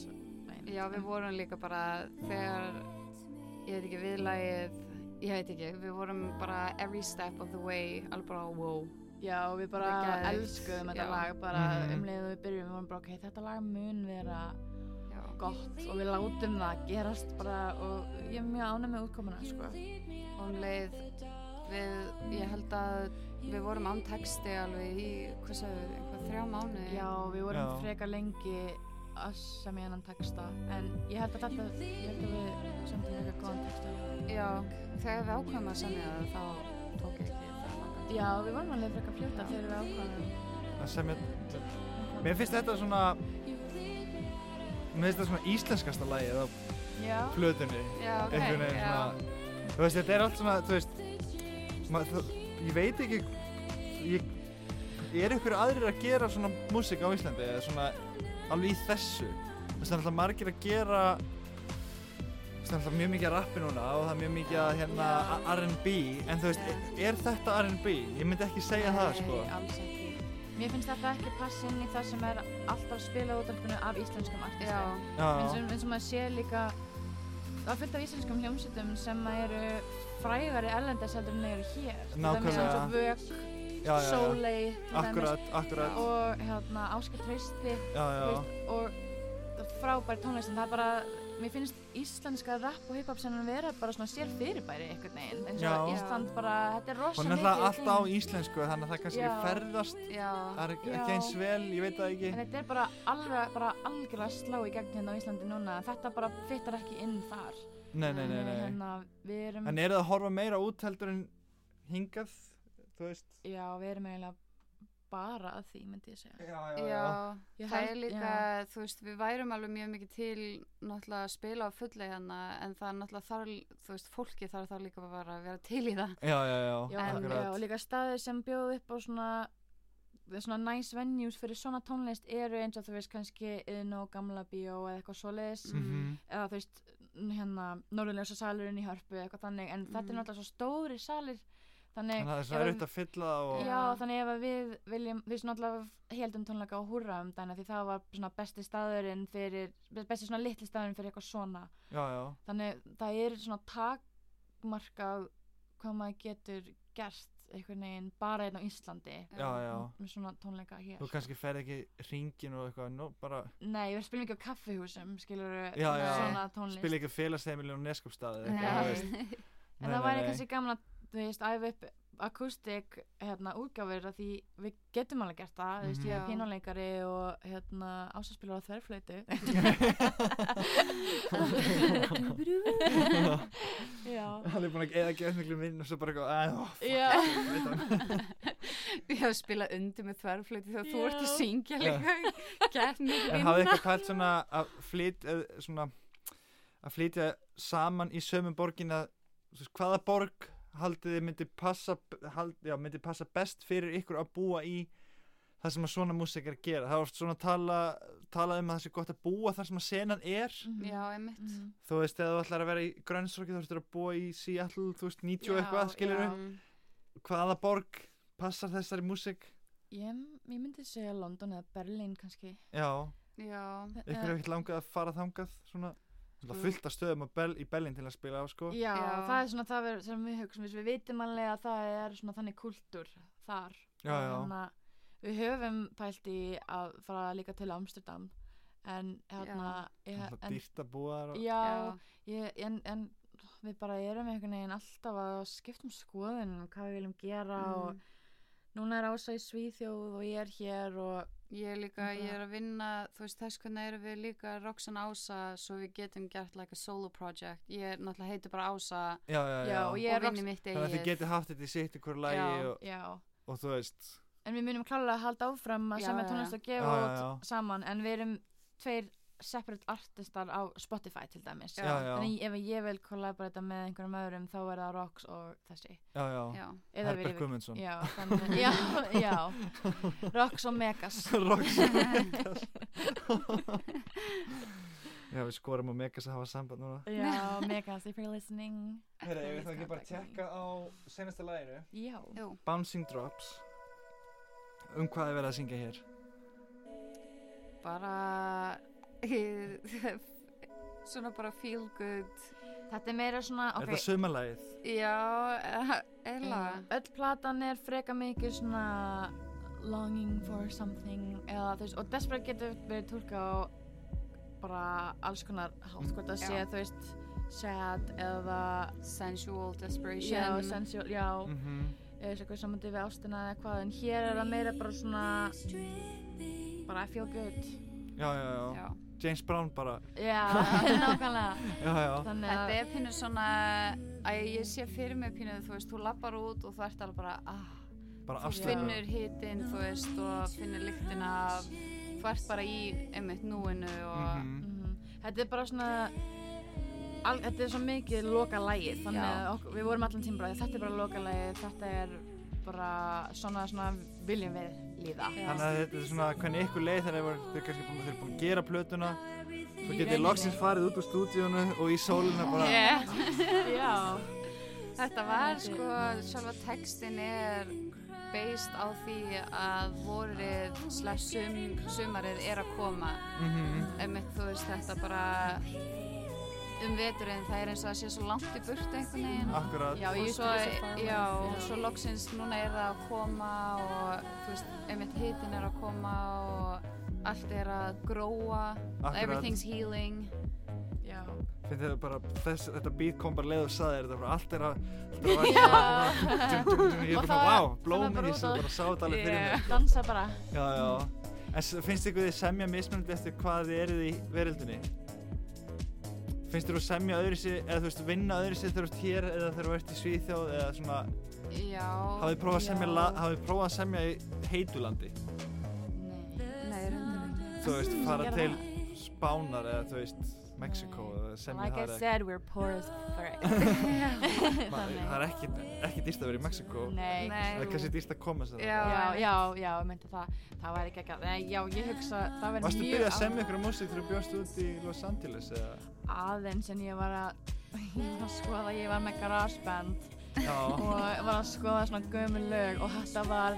megin. Já, við vorum líka bara þegar, ég veit ekki, viðlagið, ég veit ekki, við vorum bara every step of the way, alveg bara wow. Já, og við bara Þetta er geðveikt, elskuðum þetta já. lag bara Mhm. um leiðu við byrjum, við vorum bara ok, þetta lag mun vera Já, gott og við látum það gerast bara og ég er mjög ánæg með útkomuna sko. og um leið, við, ég held að við vorum án texti alveg í, hvað sagðu, einhvað þrjá mánuði. Já, við vorum Já. frekar lengi að semja hennan texta en ég held að þetta, ég held að við semtum frekar góðan texta. Já, þegar við ákvæmum að semja það, þá tók ekki það langan. Já, við vorum alveg frekar fljóta Já. þegar við ákvæðum. það sem ég Mér finnst þetta svona Mér finnst þetta svona íslenskasta lagið á Já, plötunni Já, ok, einhvern veginn já, svona Þú veist, þetta er allt svona, þú veist mað, þú, Ég veit ekki ég, Er ykkur aðrir að gera svona músík á Íslandi eða svona alveg í þessu Þú veist, það er alltaf margir að gera þú veist, Það er alltaf mjög mikið að rappi núna og það er mjög mikið að hérna a- R&B en þú veist, e-, er þetta R&B? Ég myndi ekki segja það sko Nei, alls ekki. mér finnst þetta ekki passa inn í það sem er alltaf spilað útdarpinu af íslenskum Já, artistum. eins Já, og, eins og maður sé líka það er fullt af íslenskum hljómsveitum sem eru frægari erlendis heldur en þeir eru hér Til dæmis Nákvæmlega. eins og Vök, já, já, já. Sólei til dæmis, Akkurat, akkurat og hérna, Áskar Trausti Já, þú já, veist, og frábær tónlistin það er bara Mér finnst íslenska rap og hiphop sem vera bara svona sér fyrirbæri einhvern veginn eins og Já. Ísland bara, þetta er rosa Hún er mikið náttúrulega í allt á þeim. íslensku þannig að það kannski Já. ferðast já, það er ekki Já. ekki eins vel, ég veit það ekki En þetta er bara alveg, bara algjörlega að slá í gegn hérna á Íslandi núna þetta bara fittar ekki inn þar Nei, nei, nei, nei Þannig að, hérna, Við erum En eru það að horfa meira út heldur en hingað, þú veist Já, við erum eiginlega bara að því, myndi ég segja. Já, já. Ég Það held- er líka, já. þú veist, við værum alveg mjög mikið til náttúrulega að spila á fulli hérna en það er náttúrulega þar, þú veist, fólki þarf þá líka bara að vera til í það. Já, já, já, En- Já, en, já, akkurat og líka staðir sem bjóðu upp á svona við svona nice venues fyrir svona tónlist eru eins og þú veist kannski yðn og gamla bíó eða eitthvað svoleiðis Mhm. eða þú veist n- hérna norðurljósa salurinn í hörpu eða eitthvað þannig en þetta er Mhm. náttúrulega svo stóri salir þannig Þannig að Mm. það er ef svona að- erut að fylla það og Já, þannig ef að við viljum, þú veist náttúrulega heldum tónleika á húrra um dæna því það var svona besti staðurinn fyrir, besti svona litli staðurinn fyrir eitthvað svona Já, já, þannig það er svona takmarkað hvað maður getur gert einhvern veginn bara einn á Íslandi já, já með svona tónleika hér Þú kannski ferð ekki ringin og eitthvað Nú bara Nei, við spilum ekki á kaffihúsum skilur Já, svona já. svona tónlist spila ekki félagsheimilin og neskupstaði Nei. Nei. en það væri kannski gaman að þú veist, æfa upp akústik hérna útgáfur af því við getum alveg gert það, þú veist, Mhm. ég er pínuleikari og hérna ásaspilur á þverflöytu Já Hann er búin að eða geða miklu minn og svo bara eitthvað "Æ, ó, fuck, Já. ég veit það." Við hefum spilað undir með þverflöti þegar þú Já. ert að syngja Já. líka, gert mikið En hafði eitthvað kvælt svona að flytja, eh, svona, að flytja saman í sömu borgin að, þú veist, hvaða borg haldið þið myndi passa, hald, já, myndi passa best fyrir ykkur að búa í það sem að svona músik er að gera það er oft svona tala, tala um að það sé gott að búa þar sem að senan er Mhm. já, einmitt Mhm. þú veist, ef þú ætlar að vera í Grönnsroki þú ætlar að búa í Seattle, þú veist, 90 og Já, eitthvað, skilur já. við hvaða borg passar þessari músik Ég, ég myndi segja London eða Berlín kannski já, já, ykkur Eh. hefur ekkert langað að fara þangað svona, svona Sko. fullt af stöðum að bel, í Berlin til að spila á sko Já, Já. það er svona það er, sem við hugsaum, við vitum alveg að það er svona þannig kultúr þar. já, Og já, hérna, við höfum pælt í að fara líka til Amsterdam, en hérna, ég, það er en, dýrt að búa þar og... já, já, ég, en, en við bara erum einhvern veginn alltaf að skiptum skoðun og hvað við viljum gera mm. og núna er Ása í Svíþjóð og ég er hér og ég er líka, Bara- ég er að vinna þú veist þess hvernig erum við líka Roxanne Ása svo við getum gert like a solo project ég er náttúrulega heiti bara Ása já, já, Já, já, og og ég- er vinni mitt þannig að þið eigið getið haft þetta í sitt ykkur lagi Já. og, já. og þú veist En við munum klálega að halda áfram að Já, sem já, er já. tónlist og gefa Já, já, út já. saman en við erum tveir separate artistar á Spotify til dæmis. já, já, En ef ég vil kollaborata með einhverjum öðrum þá er það Rox og þessi. já, já, já, Eða við Herbert Guðmundsson Já, þannig, já, já, Rox og Megas. Roxy Megas Já, við skorum á Megas að hafa samband núna Já, Megas, if you're listening. Herra, eigum við þá ekki bara að tékka á senasta læginu Já. jú, Bouncing Drops Um hvað er verið að syngja hér? bara svona bara feel good Þetta er meira svona, Er það ok, sumarlægið? já, eh, eiginlega um, öll platan er freka mikið svona longing for something eða þú veist, og desperate getur verið tólka á bara alls konar hátt, hvort það sé, Já. þú veist, sad eða sensual desperation já, sensual, já, Mm eða eitthvað samandi við ástina eða hvað, en hér er það meira bara svona bara I feel good já, já, já, já. James Brown bara já, nákvæmlega Já, já, þannig þetta að, er pínu svona að ég sé fyrir mig pínu þú veist, þú lappar út og þú ert alveg bara ah, bara Þú afslega finnur hitin, þú veist, og finnur lyktina af, þú ert bara í einmitt núinu og mhm, þetta er bara svona al, þetta er svo mikið loka lægið þannig Já. að ok, við vorum allan tíma bara þetta er bara loka lægið, þetta er bara svona, svona viljum við líða Já. Þannig að þetta er svona hvernig ykkur leið þegar þeir voru- þeir kannski búin, þeir eru búin að gera plötuna Svo getið rauninni. loksins farið út úr stúdíónu og í sólina bara Yeah. Já, Þetta var sko, sjálfa textin er based á því að vorið slash sum, sumarið er að koma Mhm. einmitt þú veist þetta bara um veturinn það er eins og það sé svo langt í burtu einhvern veginn Akkurat Já, og ég svo, used to be so far away. já, og Já. svo loksins núna er það að koma og þú veist, einmitt hitin er að koma og allt er að gróa Akkurat. everything's healing já. Finn þið bara, þess, þetta beat kom bara leið og saði þér, þetta bara allt er að, allt er að Já. dum, dum, dum, ég er Og bara, það- vá, það blómin var í þessu, bara út á- bara sá þetta alveg fyrir Yeah. mig. Dansa bara. Já, já. En s- finnst ykkur þið semja mismunandi eftir hvað þið eruð í veröldinni? Finnst þér þú semja öðru sér, eða þú veist, vinna öðru sér þegar þú ert hér eða þegar þú ert í Svíþjóð eða svona, já, hafið þið prófað að semja, Já. la- hafið þið prófað að semja í heitulandi? Nei. nei, reyndar ekki Þú veist, fara Gerðu til Spánar eða þú veist, Mexiko Nei. eða semja Like I þar eða- said, we're poor as frick. Ma- Það er ekki, ekki sko. dýrst að vera í Mexiko. Nei. Nei. Það er kannski dýrst að koma sér. Já, Já, einmitt. já, já, ég myndi það, það væri ekki ekki að, nei, já, ég hugsa, það væri Varstu mjög að byrja að semja ykkur músík þegar þú bjóst út í Los Angeles eða? aðeins en ég var að, ég var að skoða, ég var með garageband Já. og var að skoða svona gömul lög og þetta var,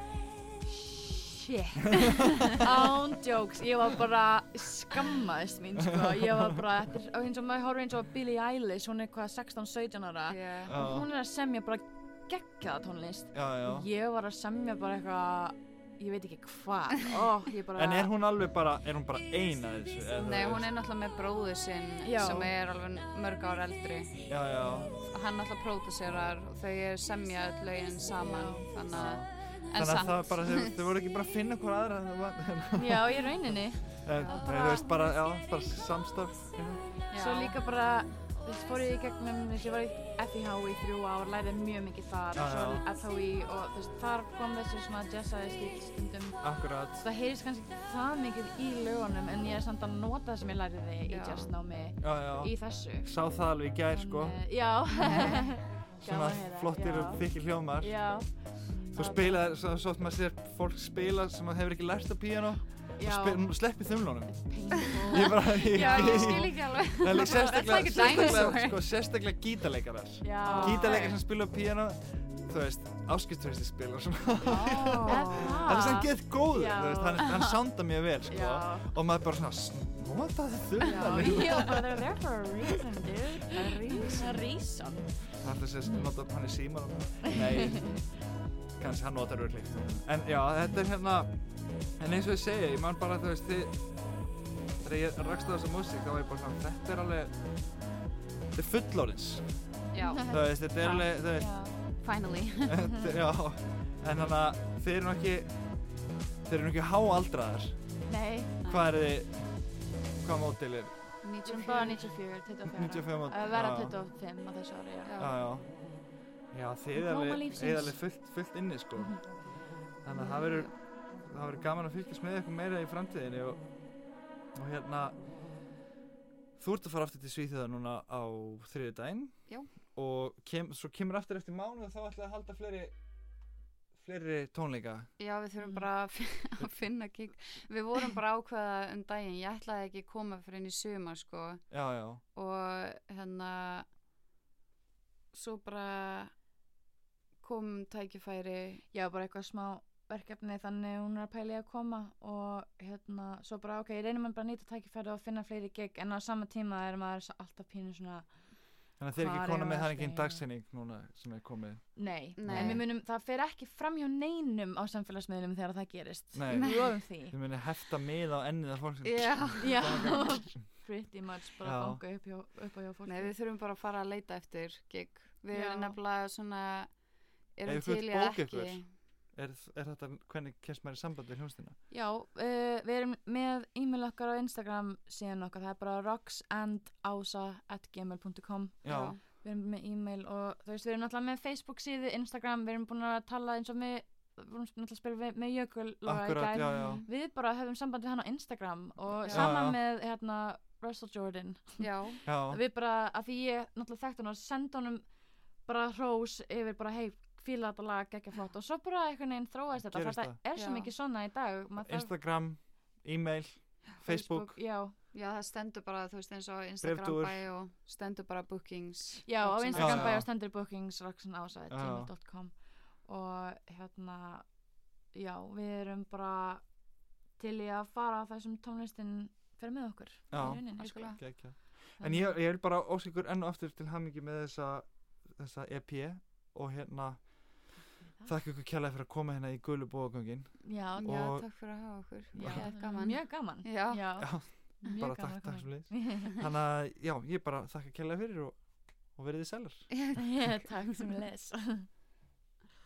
shit, án jokes, ég var bara skammaðist mín, sko, ég var bara, þetta er, og eins og maður horfir eins og Billie Eilish, hún er hvað, 16-17 ára, yeah. Já, hún er að semja bara geggjaða tónlist, já, já. ég var að semja bara eitthvað, ég veit ekki hvað, oh, ég bara, En er hún alveg bara, er hún bara eina þessu? eða þú Nei, veist? hún er náttúrulega með bróðu sinn Já. sem er alveg mörg ár eldri Já, já. hann náttúrulega pródúserar og þau er semja öll lögin saman þannig að en Þannig að samt það bara, þau, þau voru ekki bara að finna hver aðra en, já, í rauninni, en nei, þú veist, bara, já, bara samstarf. Já. Svo líka bara, þú veist, fór ég í gegnum, ég var í FIH í þrjú ár, lærði mjög mikið þar, Já, já. og svo LHI og þú veist, þar kom þessi svona jazzaði stíl stundum. Akkurat. Það heyrist kannski ekki það mikið í lögunum, en ég er samt að nota það sem ég lærði í Já. jazznámi Já, já. í þessu. eh, Sá það alveg í gær, sko. Þannig- Já, svona Gaman að heyra, flottir já. og þykir hljómar Já, þú spila, svo, svo oft maður sér fólk spila sem maður hefur ekki lært á píano já, og sleppi þumlunum painful. ég bara, ég, já, ég skil ekki alveg Það er líka That's sérstaklega, like a sérstaklega, dinosaur. sko, sérstaklega gítarleikarar Já. Gítarleikar sem spila á píano Þú veist, áskipturisti spila svona. Ah. Það er sem gett góður, Já. þú veist, hann, hann soundar mjög vel sko. Já. Og maður bara svona, notaði þurrðan Já, já, but they're there for a reason, dude. Það er rís Það er rísan. Það er þess að nota hann í síman Nei, kannski hann notar örglíkt En já, þetta er hérna En eins og ég segi, ég man bara, þú veist, þið Þegar ég rakst á þessa músík, þá var ég bara svona, þetta er alveg Þetta er fullorins Já, Þú veist, þetta er alveg, þú veist Já, finally Þetta- Já, en þannig að þeir eru nú ekki þeir eru nú ekki háaldraðar nei, hvað er þið hvað mótil er 94 bara 94, 25. 95 Að vera 25 á þessu ári, já. Já. já, já. já þið er Blóma alveg, lífsins. er alveg fullt, fullt inni sko Mhm. þannig að það verður það verður gaman að fylgjast með eitthvað meira í framtíðinni og, og hérna þú ert að fara aftur til Svíþjóða núna á þriði daginn Já. og kem, svo kemur aftur eftir mánuð og þá ætlaði að halda fleiri fleiri tónleika Já, við þurfum Mm. bara að fin- að finna gig Við vorum bara að ákveða um daginn Ég ætlaði ekki að koma fyrir inn í sumar sko já, já, og hérna svo bara kom tækifæri Já, bara eitthvað smá verkefni þannig hún er að pæli að koma og hérna, svo bara ok, ég reynir maður bara að nýta tækifæri og finna fleiri gig en á sama tíma er maður s- alltaf pínu svona Þannig að þeir Hvar ekki konar með eigum við að það ekki einn spila? dagsinning núna sem er komið. nei, Nei. en við munum, það fer ekki fram hjá neinum á samfélagsmiðlum þegar það gerist Nei. við lofum því Þið munið hefta mið á ennið af fólk sem... Já, pretty much bara Já. banka upp, hjá, upp á hjá fólki Nei, við þurfum bara að fara að leita eftir gig Við Já. erum nefnilega svona Ef erum þú til vilt í að bóka ekki ykkur. Er, er þetta, hvernig kemst maður í samband við hljómsdina? Já, uh, við erum með e-mail okkar á Instagram síðan okkar, það er bara rocksandasa.gmail.com Já. við erum með e-mail og þú veist, við erum náttúrulega með Facebook síðu, Instagram, við erum búin að tala eins og með, við erum náttúrulega að spila við, með Jökul Lóa í Akkurat, gær, já, já. við bara höfum samband við hann á Instagram og Já. saman Já, já. með hérna Russell Jordan, Já, Já, við bara, að því ég náttúrulega þekkt hann og senda honum bara hrós yfir bara, hei, fíla þetta lag, ekki flott og svo bara einhvern veginn þróaðist þetta, Gerist þetta er svo Já. mikið svona í dag, maður þarf Instagram, e-mail, Facebook. já, já, það stendur bara, þú veist, eins og Instagram Bréftúfur. bæ og stendur bara bookings Já, á Roxanne Instagram Já, bæja já. og stendur bookings Já. roxanása.gmail.com og hérna já, við erum bara til í að fara að það sem tónlistin fer með okkur Já. í rauninni, sko. Algjörlega. Gekja. En ég, ég vil bara óska ykkur enn og aftur til hamingi með þessa, þessa EP og hérna, þakka ykkur kjærlega fyrir að koma hérna í gulu bóðagöngin. Já, Já, Og- takk fyrir að hafa okkur já, Já, það er gaman mjög gaman Já, já, Já, mjög bara takk, gaman að takk koma. sem leiðis. Þannig að, já, ég bara þakka kjærlega fyrir og, og verið þið selar. Já, takk sem les